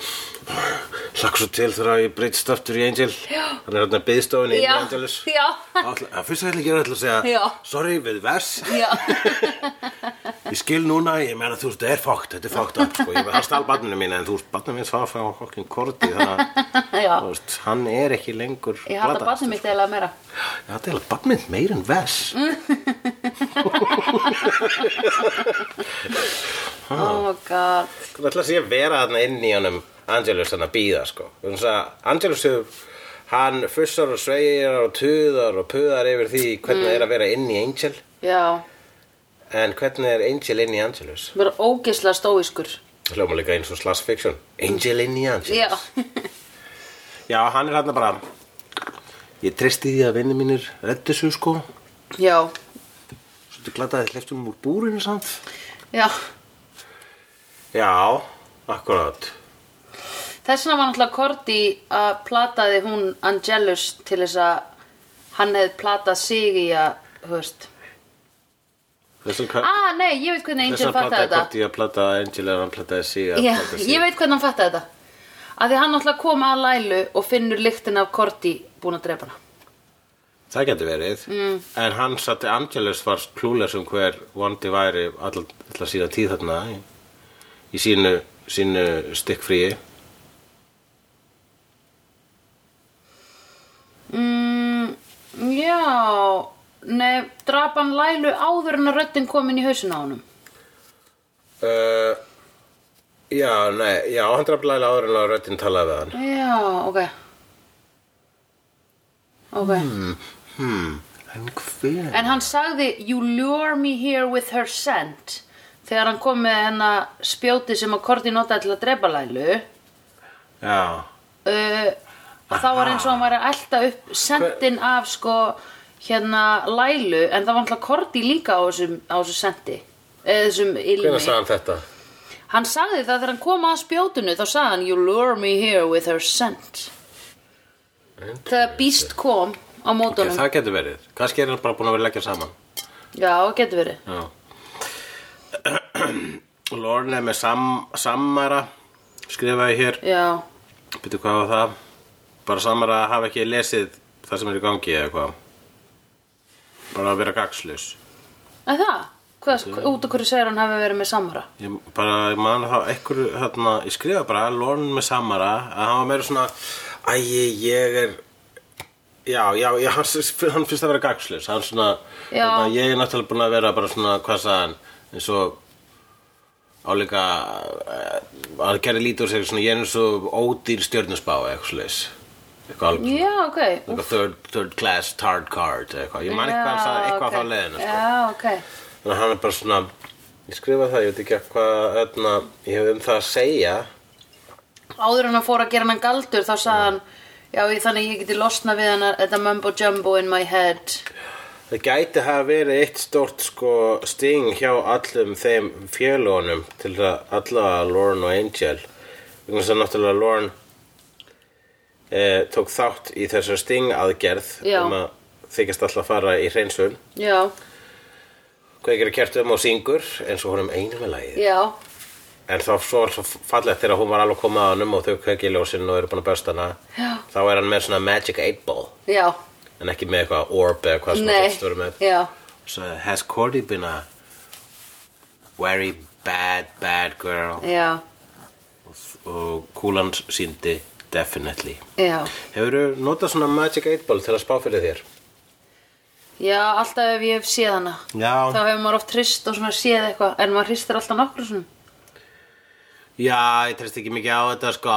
[SPEAKER 1] hlakk svo til þegar ég breytist aftur í Angel já. hann er þarna byðstofinni í
[SPEAKER 2] Já,
[SPEAKER 1] Angelus
[SPEAKER 2] já,
[SPEAKER 1] Ætla, að fyrst ætla ekki að ætla að segja
[SPEAKER 2] Já.
[SPEAKER 1] sorry við vers,
[SPEAKER 2] já
[SPEAKER 1] ég skil núna ég meina þú veist, þetta er fókt, þetta er fókt upp, sko. ég hann stál barninu mín en þú veist, barninu mín svaf á fokkin korti þannig að
[SPEAKER 2] Já. [LAUGHS]
[SPEAKER 1] þú veist, hann er ekki lengur
[SPEAKER 2] Ég hata
[SPEAKER 1] glataðastur.
[SPEAKER 2] barnið mitt eða meira
[SPEAKER 1] Já, þetta er alveg badmynd meir en Vess
[SPEAKER 2] Mm. Oh my god
[SPEAKER 1] Þú ætla að sé að vera þarna inn í honum Angelus hann að býða sko Þannig að Angelus hefur hann fussar og sveigir og tuðar og puðar yfir því hvernig
[SPEAKER 2] Mm.
[SPEAKER 1] það er að vera inn í Angel
[SPEAKER 2] Já,
[SPEAKER 1] en hvernig er Angel inn í Angelus
[SPEAKER 2] vera ógeðslega stóískur
[SPEAKER 1] hljóma líka eins og slash fiction Angel inn í Angelus
[SPEAKER 2] Já, [LAUGHS]
[SPEAKER 1] Já, hann er hann bara ég treysti því að vinni mínir reddi svo sko
[SPEAKER 2] já,
[SPEAKER 1] svolítið glataði hleftum úr búrinu samt
[SPEAKER 2] já
[SPEAKER 1] Já, akkurát
[SPEAKER 2] Þess vegna var náttúrulega Korti að plataði hún Angelus til þess að hann hefði platað sig í að, þú veist
[SPEAKER 1] Þessum hvað
[SPEAKER 2] Ah, nei, ég veit hvernig
[SPEAKER 1] Þess
[SPEAKER 2] Angel
[SPEAKER 1] að plattaði
[SPEAKER 2] fattaði þetta
[SPEAKER 1] Korti að plattaði Angel eða hann plattaði sig að
[SPEAKER 2] Já,
[SPEAKER 1] plattaði
[SPEAKER 2] ég veit hvernig hann fattaði þetta Af því hann náttúrulega kom að Lælu og finnur lyktin af Korti búin að drepa hana
[SPEAKER 1] Það getur verið mm. En hann satt Angelus var klúles um hver vondi væri all- alla sína tíð þarna í, í sínu, sínu stikkfríi
[SPEAKER 2] Mm, Já, nei, drapa hann Lælu áður en að röddin kom inn í hausinn á honum
[SPEAKER 1] uh, Já, nei, já, hann draf læla áður en að röddinn talaði við hann
[SPEAKER 2] Já, ok Ok
[SPEAKER 1] hmm. En hver?
[SPEAKER 2] En hann sagði You lure me here with her scent Þegar hann kom með hennar spjóti sem að Korti notaði til að drepa Lælu
[SPEAKER 1] Já,
[SPEAKER 2] uh, Þá var eins og hann væri að elta upp sentin af sko hérna Lælu En það var náttúrulega Korti líka á þessum, á þessum senti eða þessum
[SPEAKER 1] hvernig
[SPEAKER 2] ilmi
[SPEAKER 1] sagði hann þetta?
[SPEAKER 2] Hann sagði það þegar hann kom að spjótinu þá sagði hann You lure me here with her scent Þegar býst kom á
[SPEAKER 1] Okay,
[SPEAKER 2] mótunum
[SPEAKER 1] það getur verið Kannski er hann bara búin að vera að leggja saman
[SPEAKER 2] Já, getur verið
[SPEAKER 1] Já [CLEARS THROAT] Lorne með sam, Samara skrifaði hér
[SPEAKER 2] Já,
[SPEAKER 1] Býtu hvað var það? Bara Samara hafa ekki lesið það sem er í gangi eða hvað Bara að vera gagslaus
[SPEAKER 2] en það? Hvað, hva- út af hverju segir hann hafi verið með samara?
[SPEAKER 1] Ég bara ég man þá einhverju hérna, ég skrifa bara Lorne með Samara að hann var meira svona Æ, ég er Já, já, já hann, hann finnst að vera gagslaus Hann svona, hérna,
[SPEAKER 2] Já.
[SPEAKER 1] ég er náttúrulega búin að vera bara svona, hvað sagði hann eins og álíka eh, hann gerði lítið úr sér svona, ég er eins og ódýr stjörnusbá eða eitthvað slags eitthvað alveg
[SPEAKER 2] Já, ok
[SPEAKER 1] Like a third, third class tard card eða eitthvað, ég man eitthvað að sagði eitthvað á þá leiðinu sko.
[SPEAKER 2] Já, ok
[SPEAKER 1] þannig að hann er bara svona ég skrifa það, ég veit ekki hvað öðna, ég hef um það að segja
[SPEAKER 2] Áður en hann fór að gera hann galdur þá sagði hann Já, ég, þannig ég geti losna við hann Þetta mumbo jumbo in my head
[SPEAKER 1] það gæti hafa verið eitt stort sko sting hjá allum þeim fjölunum til að alla Lorne og Angel vegna þess að náttúrulega Lorne eh, tók þátt í þessar sting aðgerð
[SPEAKER 2] Já.
[SPEAKER 1] um að þykist alltaf að fara í hreinsun
[SPEAKER 2] já,
[SPEAKER 1] kveikir að kertum og syngur eins og honum einum er lagið
[SPEAKER 2] já
[SPEAKER 1] en þá svo var svo fallegt þegar hún var alveg komað að honum og þau kveikir í ljósin og eru búin að besta hana
[SPEAKER 2] Já.
[SPEAKER 1] þá er hann með svona magic 8 ball
[SPEAKER 2] já,
[SPEAKER 1] en ekki með eitthvað orb eða hvað sem
[SPEAKER 2] nei
[SPEAKER 1] það stóru með
[SPEAKER 2] já,
[SPEAKER 1] so, has Cordy been a very bad bad girl
[SPEAKER 2] já,
[SPEAKER 1] og kúlan síndi definitely
[SPEAKER 2] já
[SPEAKER 1] Hefurðu notað svona Magic 8 Ball til að spá fyrir þér?
[SPEAKER 2] já, alltaf ef ég hef séð hana
[SPEAKER 1] Já.
[SPEAKER 2] þá hefur maður oft hrist og svona séð eitthvað en maður hristir alltaf nokkru svona
[SPEAKER 1] Já, ég treyst ekki mikið á þetta sko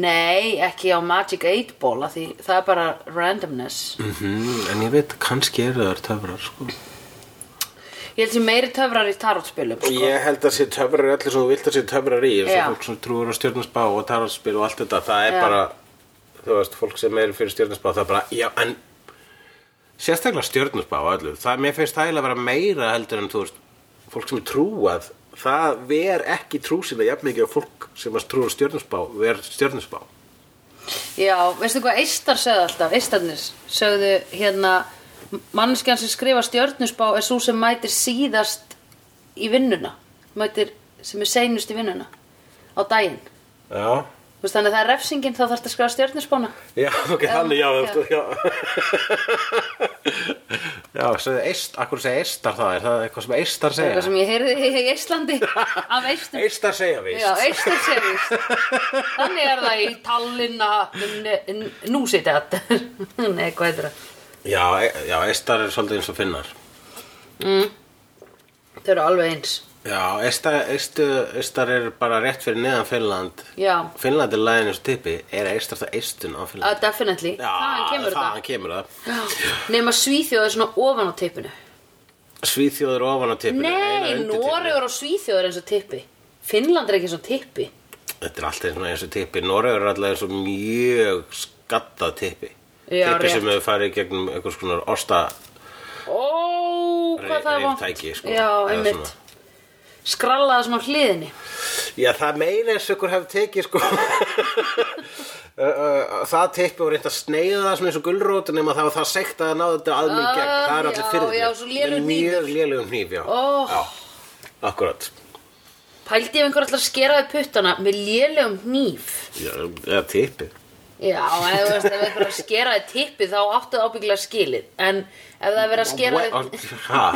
[SPEAKER 2] Nei, ekki á Magic 8 Ball af því það er bara randomness
[SPEAKER 1] -hmm, En ég veit, kannski eru það töfrar sko
[SPEAKER 2] Ég held sem meiri töfrar í tarotspilum sko.
[SPEAKER 1] Ég held að sé töfrar í öllu sem þú vilt að sé töfrar í Þess
[SPEAKER 2] Já.
[SPEAKER 1] að fólk sem trúur á stjórnarspá og tarotspil og allt þetta Það er
[SPEAKER 2] Já.
[SPEAKER 1] bara, þú veist, fólk sem er fyrir stjórnarspá Það er bara, já, en Sérstaklega stjórnarspá og öllu Það, mér finnst það eiginlega að vera meira heldur en þú veist Fólk sem er trúað Það ver ekki trú sinna jafn mikið og fólk sem að trúur stjórnarspá ver stjórnarspá
[SPEAKER 2] Já, veistu hvað eistar sögðu alltaf, eistarnir sögðu hérna manneskjan sem skrifa stjörnusbá er svo sem mætir síðast í vinnuna mætir sem er seinust í vinnuna á daginn
[SPEAKER 1] Já,
[SPEAKER 2] Þú veist, Þannig að það er refsingin þá þarfst að skrifa stjörnusbána
[SPEAKER 1] Já, ok, þannig, já,
[SPEAKER 2] já.
[SPEAKER 1] já. já. [LAUGHS] já, segðu eist, akkur segja eistar það, er það eitthvað sem eistar segja?
[SPEAKER 2] eitthvað sem ég heyrði í Íslandi af eistum
[SPEAKER 1] Eistar segja víst.
[SPEAKER 2] Já, eistar sé víst Þannig er það í um Tallinna n- n- Núsitat [LAUGHS] Nei, hvað heitir það?
[SPEAKER 1] Já, e- já, eistar er svolítið eins og finnar.
[SPEAKER 2] Þau eru alveg eins
[SPEAKER 1] Já, eistar, eistu, eistar er bara rétt fyrir neðan Finnland.
[SPEAKER 2] Já.
[SPEAKER 1] Finnland er lagin eins og tippi, er eistar það eistun á
[SPEAKER 2] uh,
[SPEAKER 1] Finnland?
[SPEAKER 2] Definitely, þaðan kemur
[SPEAKER 1] þaðan
[SPEAKER 2] það
[SPEAKER 1] kemur það.
[SPEAKER 2] Nefn að Svíþjóð er svona ofan á tippinu
[SPEAKER 1] Svíþjóður ofan á tippinu. eiginlega
[SPEAKER 2] Nei,
[SPEAKER 1] undir tippinu.
[SPEAKER 2] Noregur og Svíþjóð er eins og tippi Finnland er ekki eins og tippi
[SPEAKER 1] Þetta er alltaf svona eins og tippi Noregur er alltaf eins og mjög skattað tippi
[SPEAKER 2] Já,
[SPEAKER 1] Tippi sem
[SPEAKER 2] rétt.
[SPEAKER 1] hefur farið í gegnum einhvers konar osta
[SPEAKER 2] Ó,
[SPEAKER 1] Re-
[SPEAKER 2] hvað það er vant
[SPEAKER 1] reiftæki, sko.
[SPEAKER 2] Já,
[SPEAKER 1] Eða
[SPEAKER 2] einmitt Skrallaða svona á hliðinni
[SPEAKER 1] Já, það meina eins og ykkur hefur tekið
[SPEAKER 2] [LAUGHS]
[SPEAKER 1] sko Ö, ö, Það tippi og reynt að sneiða það svona eins og gulrót nema það var það sekt að náða þetta aðmi í gegn Það er
[SPEAKER 2] Ah,
[SPEAKER 1] allir
[SPEAKER 2] já,
[SPEAKER 1] fyrir
[SPEAKER 2] já, svo lélegur
[SPEAKER 1] Mjög lélugum hníf, já
[SPEAKER 2] Ó.
[SPEAKER 1] Já, akkurat
[SPEAKER 2] Pældi ef einhver ætlar að skera við puttana með lélegum hníf
[SPEAKER 1] Já, eða tippi
[SPEAKER 2] Já, ef þú veist, ef einhver er að skera þið tippið þá áttu það ábyggilega skilið En ef það er verið að skera þið
[SPEAKER 1] Hæ?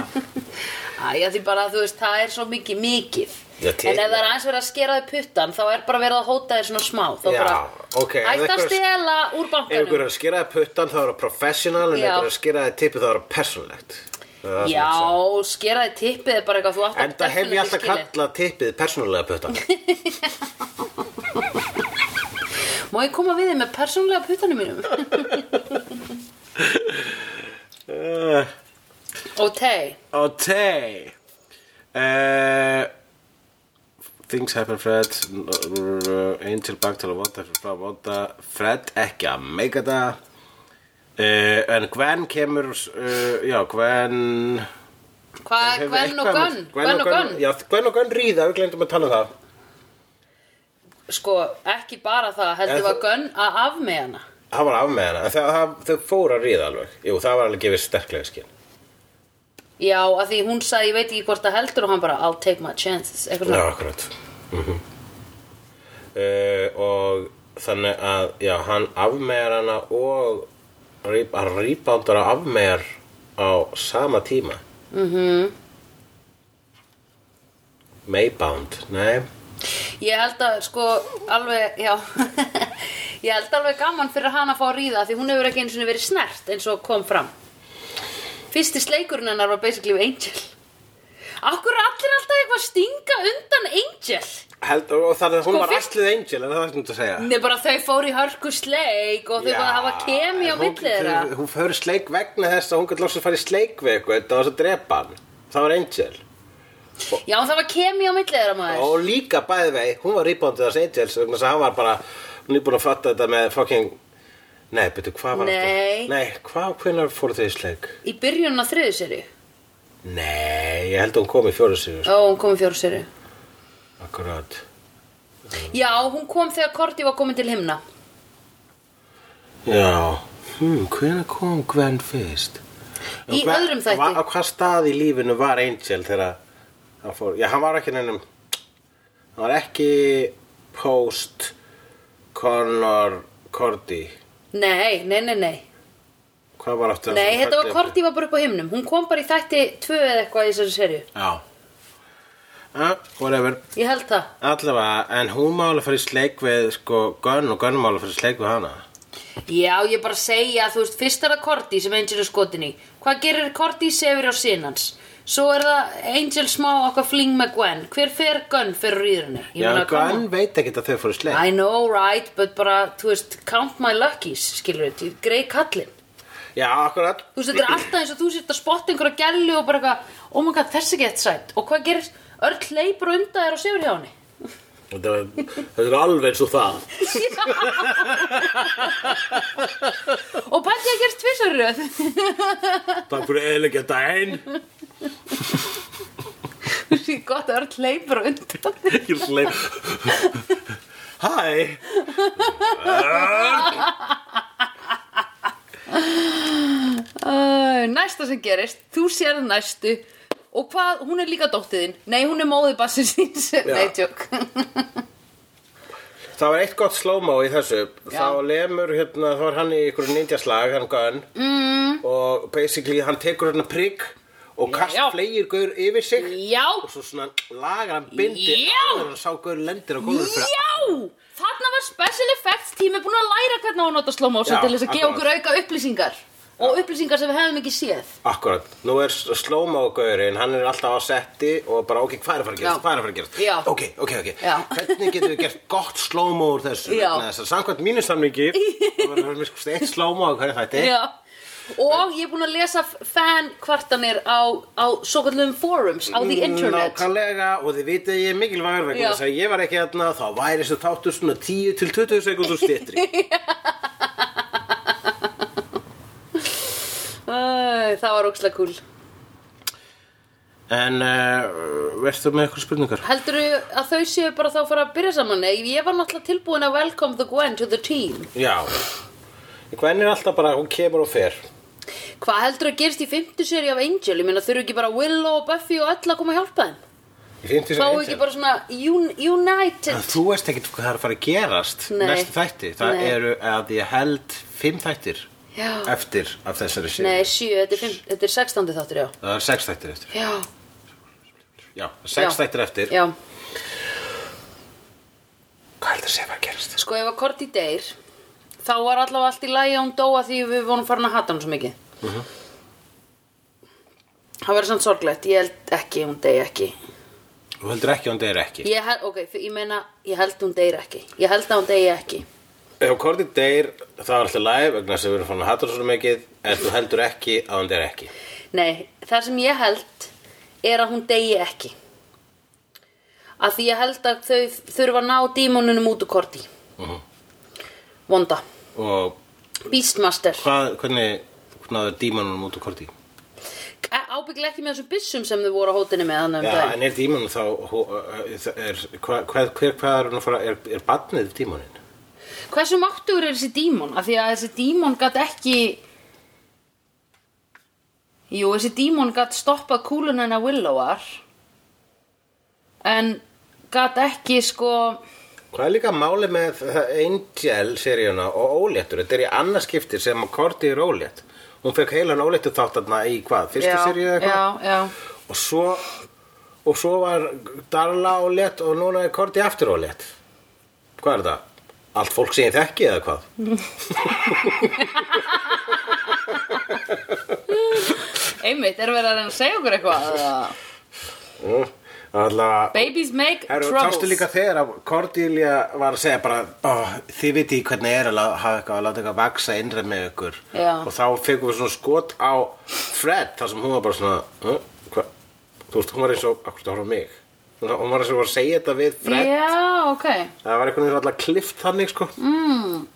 [SPEAKER 2] Æja, því bara, þú veist, það er svo mikið mikið
[SPEAKER 1] Já, til-
[SPEAKER 2] En ef það er aðeins verið að skera þið puttan þá er bara verið að hóta þið svona smá Þá
[SPEAKER 1] Já,
[SPEAKER 2] bara,
[SPEAKER 1] ok, ef
[SPEAKER 2] hætt að
[SPEAKER 1] einhver-
[SPEAKER 2] stela úr
[SPEAKER 1] Ef
[SPEAKER 2] bankanum
[SPEAKER 1] ykkur er að skera það puttan þá er það professional en ef
[SPEAKER 2] Já.
[SPEAKER 1] ykkur er að skera það tippi þá er það persónlegt Það er það sem ég hugsa.
[SPEAKER 2] Já, skera þið tippið er bara eitthvað þú átt að
[SPEAKER 1] Enda hef ég
[SPEAKER 2] definitely
[SPEAKER 1] alltaf
[SPEAKER 2] skilið.
[SPEAKER 1] kallað tippið persónulega puttan
[SPEAKER 2] [LAUGHS] Má ég koma við þið með persónlega puttanum
[SPEAKER 1] [LAUGHS]
[SPEAKER 2] mínum?
[SPEAKER 1] uh,
[SPEAKER 2] ok,
[SPEAKER 1] Ok uh, Things happen Fred Angel back to the water frá water Fred ekki að meika það uh, En Gwen kemur uh, Já, Gwen
[SPEAKER 2] hvað,
[SPEAKER 1] hefur
[SPEAKER 2] Ah, Gwen og
[SPEAKER 1] eitthvað með-
[SPEAKER 2] Gunn Gwen og Gunn
[SPEAKER 1] Já, Gwen og Gunn ríða, við glemdum að tala um það
[SPEAKER 2] Sko, ekki bara það, heldur
[SPEAKER 1] En
[SPEAKER 2] var
[SPEAKER 1] þú-
[SPEAKER 2] Gunn að af með hana
[SPEAKER 1] Það var af með hana, en það, það, þau fóru að ríða alveg Jú, það var alveg gefið sterklega skinn
[SPEAKER 2] Já, að því hún sagði, ég veit ekki hvort það heldur og hann bara, I'll take my chances eitthvað
[SPEAKER 1] Já,
[SPEAKER 2] svona.
[SPEAKER 1] akkurat uh, Og þannig að já, hann afmegar hana og rýp- hann rýpándur að afmegar á sama tíma mm
[SPEAKER 2] Mhm.
[SPEAKER 1] -hmm. Maybound, nei
[SPEAKER 2] Ég held að, sko, alveg, já [LAUGHS] Ég held alveg gaman fyrir hann að fá að ríða því hún hefur ekki einu sinni verið snert eins og kom fram Fyrsti sleikurinn hennar var basically við Angel Akkur er allir alltaf eitthvað að stinga undan Angel
[SPEAKER 1] Held, og það er að hún
[SPEAKER 2] Sko,
[SPEAKER 1] var
[SPEAKER 2] fyrst-
[SPEAKER 1] ætlið Angel, en það er það sem þú segja
[SPEAKER 2] Nei, bara þau fóru í hörku sleik og þau
[SPEAKER 1] Já,
[SPEAKER 2] bara hafa kemi á
[SPEAKER 1] en hún-
[SPEAKER 2] milli þeirra
[SPEAKER 1] þau- Hún fyrir sleik vegna þess að hún gæti loksins að fara í sleik við eitthvað Það var svo drepa hann, það var Angel
[SPEAKER 2] Já, það var kemi á milli þeirra maður
[SPEAKER 1] og líka bæði vei, hún var reboundið hans Angels vegna þess að hann var bara hún er búin að fatta þetta með fucking nei, betur, hvað var
[SPEAKER 2] Nei.
[SPEAKER 1] þetta? nei, hvað, hvenær fóru þau í sleik?
[SPEAKER 2] Í byrjunum á þriðu seri
[SPEAKER 1] nei, ég held að hún kom í fjóru sig
[SPEAKER 2] Ó, hún kom í fjóru seri
[SPEAKER 1] akkurat
[SPEAKER 2] Já, hún kom þegar Korti var komin til himna
[SPEAKER 1] já, hmm, hvenær kom Gwen fyrst?
[SPEAKER 2] Í
[SPEAKER 1] Gwen-
[SPEAKER 2] öðrum þætti.
[SPEAKER 1] Hva- Á hvað stað í lífinu var Angel þegar hann fór? Já, hann var ekki nefnum Hann var ekki post Connor Cordy
[SPEAKER 2] Nei, nei, nei, nei
[SPEAKER 1] Hvað var aftur?
[SPEAKER 2] Nei, þetta var Korti var bara upp á himnum Hún kom bara í þætti tvö eða eitthvað í þessari serju
[SPEAKER 1] Já ah, Whatever
[SPEAKER 2] Ég held það
[SPEAKER 1] Allavega, en hún má alveg fara í sleik við sko, Gunn og Gunn má alveg fara í sleik við hana
[SPEAKER 2] Já, ég bara segja, þú veist, fyrst er það Korti sem Angel er skotin í. Hvað gerir Korti sefir á sinans? Svo er það Angel smá okkar fling með Gwen. Hver fer Gunn fyrir rýðurinu?
[SPEAKER 1] Já, en Gunn veit ekkert að þau fóru í sleik
[SPEAKER 2] I know, right, but bara, þú veist, count my luckies, skilur við, grei kallinn.
[SPEAKER 1] Já, akkurat
[SPEAKER 2] Þú veist, þetta er alltaf eins og þú sért að spotta einhverja gælu og bara eitthvað, oh my god, þessi gett sætt. Og hvað gerir, öll leipur undan þér og sefur hjá [LAUGHS] henni?
[SPEAKER 1] Þetta var- þetta er alveg eins og það
[SPEAKER 2] Og bætti að gerst tvissar röð.
[SPEAKER 1] [LAUGHS]
[SPEAKER 2] [LAUGHS]
[SPEAKER 1] Takk fyrir eðilegja daginn
[SPEAKER 2] Þú veist, gott að öll leipur undan þér.
[SPEAKER 1] Ég er sleik [LAUGHS] Hæ
[SPEAKER 2] Uh, næsta sem gerist, þú sér næstu og hvað, hún er líka dóttið þín nei, hún er móðið bassins þíns nei, tjók
[SPEAKER 1] Það var eitt gott slow-mo í þessu Þá lemur, hérna, þá er hann í ykkur ninjaslag, hann Gunn mm. Og basically, hann tekur hérna prigg Og kast
[SPEAKER 2] Já.
[SPEAKER 1] fleigir gaur yfir sig
[SPEAKER 2] já,
[SPEAKER 1] Og svo svona lagar hann bindi
[SPEAKER 2] Já.
[SPEAKER 1] áður en hann sá gaur lendir á góður
[SPEAKER 2] já þarna var special effects tími búin að læra hvernig á að nota slow motion
[SPEAKER 1] Já,
[SPEAKER 2] til þess að gefa
[SPEAKER 1] akkurat.
[SPEAKER 2] okkur auka upplýsingar og upplýsingar sem við hefðum ekki séð
[SPEAKER 1] Akkurat, nú er slow-mo gaurinn, hann er alltaf á setti og bara ok, hvað er að fara að gerast,
[SPEAKER 2] Já.
[SPEAKER 1] hvað er að fara að gerast
[SPEAKER 2] Já.
[SPEAKER 1] Ok, ok, ok,
[SPEAKER 2] Já.
[SPEAKER 1] hvernig getum við gert gott slow-mo úr þessu
[SPEAKER 2] Já.
[SPEAKER 1] Vegna þess að samkvæmt mínu samlingi
[SPEAKER 2] [LAUGHS]
[SPEAKER 1] Það verður að vera með sko eitt slow-mo á hverju þætti
[SPEAKER 2] já og ég er búin að lesa fan kvartanir á, á svo kallum forums á the internet
[SPEAKER 1] Mm, Nákvæmlega og þið vitið að ég er mikilvægur
[SPEAKER 2] Já.
[SPEAKER 1] vegna þess að ég var ekki hérna þá væri þessu tátur svona 10 til 20 sekundur
[SPEAKER 2] [LAUGHS]
[SPEAKER 1] stýttri
[SPEAKER 2] Æ, það var ókslega cool
[SPEAKER 1] En uh, verður með eitthvað spurningar?
[SPEAKER 2] Heldur að þau séu bara þá að fara að byrja saman? Nei, ég var náttúrulega tilbúin að welcome the Gwen to the team.
[SPEAKER 1] Já Hvernig er alltaf bara, hún kemur og fer
[SPEAKER 2] Hvað heldur að gerist í fymtu seri af Angel? Ég meina þurfu ekki bara Willow og Buffy og öll að koma að hjálpa þeim?
[SPEAKER 1] Ég finnst þess
[SPEAKER 2] Fáu
[SPEAKER 1] að
[SPEAKER 2] ekki bara svona un
[SPEAKER 1] að
[SPEAKER 2] united?
[SPEAKER 1] þú veist ekkert hvað það er að fara að gerast
[SPEAKER 2] Nei.
[SPEAKER 1] næstu þætti, það
[SPEAKER 2] Nei.
[SPEAKER 1] eru að ég held fimm þættir
[SPEAKER 2] Já.
[SPEAKER 1] eftir af þessari sér
[SPEAKER 2] Nei, sjö, þetta er, fimm, þetta er sextandi þáttur, já.
[SPEAKER 1] það er sex þættir eftir
[SPEAKER 2] Já.
[SPEAKER 1] já, sex
[SPEAKER 2] já.
[SPEAKER 1] þættir eftir
[SPEAKER 2] Já.
[SPEAKER 1] hvað heldur sé að fara að gerast?
[SPEAKER 2] Sko, ef að Korti deyr, þá var allavega allt í lagi að hún dóa því við vorum farin að hata hann svo mikið.
[SPEAKER 1] Mhm.
[SPEAKER 2] Það verður samt sorglegt. Ég held ekki, hún deyr ekki.
[SPEAKER 1] þú heldur ekki að hún deyr ekki
[SPEAKER 2] Ég held, ok, f- ég meina, ég held hún deyr ekki Ég held að hún deyr ekki
[SPEAKER 1] ef Korti deyr, það er alltaf læg vegna þess að við erum fann að hata svo mikið en þú heldur ekki að hún deyr ekki
[SPEAKER 2] Nei, það sem ég held er að hún deyr ekki Af því ég held að þau þurfa að ná dímonunum út úr korti Vonda
[SPEAKER 1] og
[SPEAKER 2] Beastmaster
[SPEAKER 1] hvað, hvernig náður dímanunum út úr Korti?
[SPEAKER 2] Ábygglega ekki með þessum byssum sem þau voru á hótinni með þannig um
[SPEAKER 1] Já,
[SPEAKER 2] daginn
[SPEAKER 1] en er dímanun þá hú- er, hvað, hvað, hver, hvað er hún að fara er, er badnið dímanunin?
[SPEAKER 2] Hversu máttugur er þessi dímon? Af því að þessi dímon gat ekki Jú, þessi dímon gat stoppað kúluna hennar Willowar En gat ekki sko
[SPEAKER 1] Hvað er líka máli með Angel seríuna og óléttur? Þetta er í annars skipti sem að Korti er ólétt. Hún fekk heilan óléttu þáttarna í hvað? Fyrstu seríu eða eitthvað?
[SPEAKER 2] Já, já
[SPEAKER 1] Og svo, og svo var Darla ólétt og núna er Korti aftur ólétt. Hvað er það? Allt fólk sem ég þekki eða hvað?
[SPEAKER 2] Einmitt, er verið að reyna að segja okkur eitthvað
[SPEAKER 1] [LAUGHS]
[SPEAKER 2] eða?
[SPEAKER 1] Mm. Alltaf...
[SPEAKER 2] Babies make
[SPEAKER 1] Herru,
[SPEAKER 2] troubles
[SPEAKER 1] tástu líka þegar að Cordelia var að segja bara oh, þið viti hvernig er að la- hafa eitthvað að láta eitthvað vaksa innra með ykkur
[SPEAKER 2] Já.
[SPEAKER 1] og þá fegum við svona skot á Fred þar sem hún var bara svona "Huh? hva? þú veist, hún var eins og akkur það horfa á mig Hún- hún var eins og var að segja þetta við Fred
[SPEAKER 2] Já, ok
[SPEAKER 1] það var einhvern veginn alltaf klift þannig sko mm.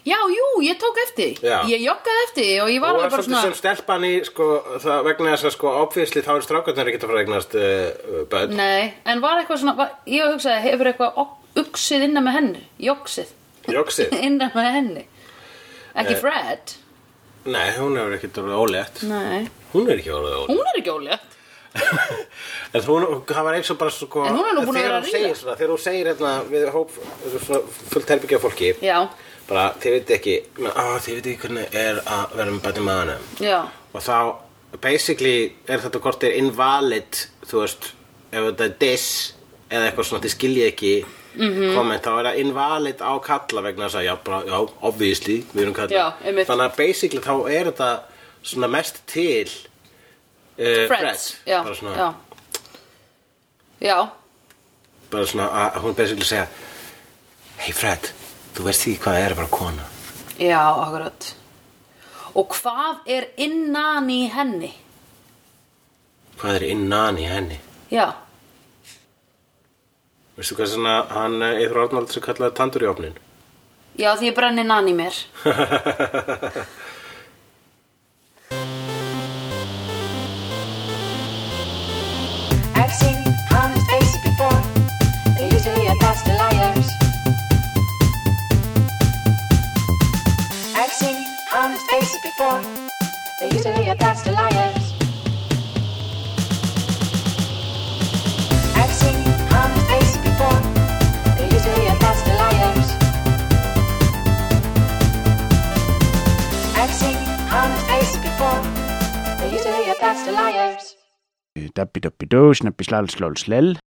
[SPEAKER 2] Já, jú, ég tók eftir því.
[SPEAKER 1] Já.
[SPEAKER 2] Ég joggaði eftir því og ég var
[SPEAKER 1] hún
[SPEAKER 2] alveg
[SPEAKER 1] var
[SPEAKER 2] bara
[SPEAKER 1] svolítið
[SPEAKER 2] svona
[SPEAKER 1] sem stelpan í sko, það, vegna þess að sko obviously þá er strákarnar ekki að fara að eignast uh, bönn
[SPEAKER 2] Nei, en var eitthvað svona, var, ég hugsaði, hefur eitthvað ok- uxið innan með henni, jóksið [LAUGHS]
[SPEAKER 1] Jóksið
[SPEAKER 2] innan með henni. Ekki
[SPEAKER 1] Eh.
[SPEAKER 2] Fred
[SPEAKER 1] Nei, hún hefur ekkert orðið ólétt
[SPEAKER 2] Nei
[SPEAKER 1] Hún er ekki orðið ólétt
[SPEAKER 2] Hún er ekki ólétt
[SPEAKER 1] En hún, það var eins og bara sko
[SPEAKER 2] En hún er nú búin að
[SPEAKER 1] þegar hún
[SPEAKER 2] vera að
[SPEAKER 1] segir
[SPEAKER 2] ríða.
[SPEAKER 1] svona, Þegar hún segir hérna við hóp svona fullt herbyggja fólki
[SPEAKER 2] Já,
[SPEAKER 1] Bara, þið veit ekki, á, þið veit ekki hvernig er að vera með bæti maðanum
[SPEAKER 2] já,
[SPEAKER 1] Og þá, basically, er þetta hvort er invalid, þú veist, ef þetta er diss eða eitthvað svona, þið skiljið ekki
[SPEAKER 2] Mhm.
[SPEAKER 1] komment, þá er það invalid á kalla vegna þess að, já, bara, já, obviously, við erum kalla.
[SPEAKER 2] Já, einmitt.
[SPEAKER 1] Þannig að basically þá er þetta svona mest til uh,
[SPEAKER 2] Freds Já,
[SPEAKER 1] bara svona,
[SPEAKER 2] já Já,
[SPEAKER 1] bara svona að að hún basically segja, hey Fred, þú veist því hvað það er að vera kona.
[SPEAKER 2] já, akkurat Og hvað er innan í henni?
[SPEAKER 1] Hvað er innan í henni?
[SPEAKER 2] Já,
[SPEAKER 1] Veistu hvað svona, hann, Eithur Arnalds er kallaði tandur í [LAUGHS] opnin?
[SPEAKER 2] já því ég brenni nann í mér
[SPEAKER 4] I've seen honest faces before. They're usually a pass to liars. I've seen honest faces before. They're usually a pass to liars. I've seen honest faces before. They're usually a pass to liars. I've seen honest faces before. They're usually a pass to liars.
[SPEAKER 5] Dabbi dabbi dó, snabbi slal slól slell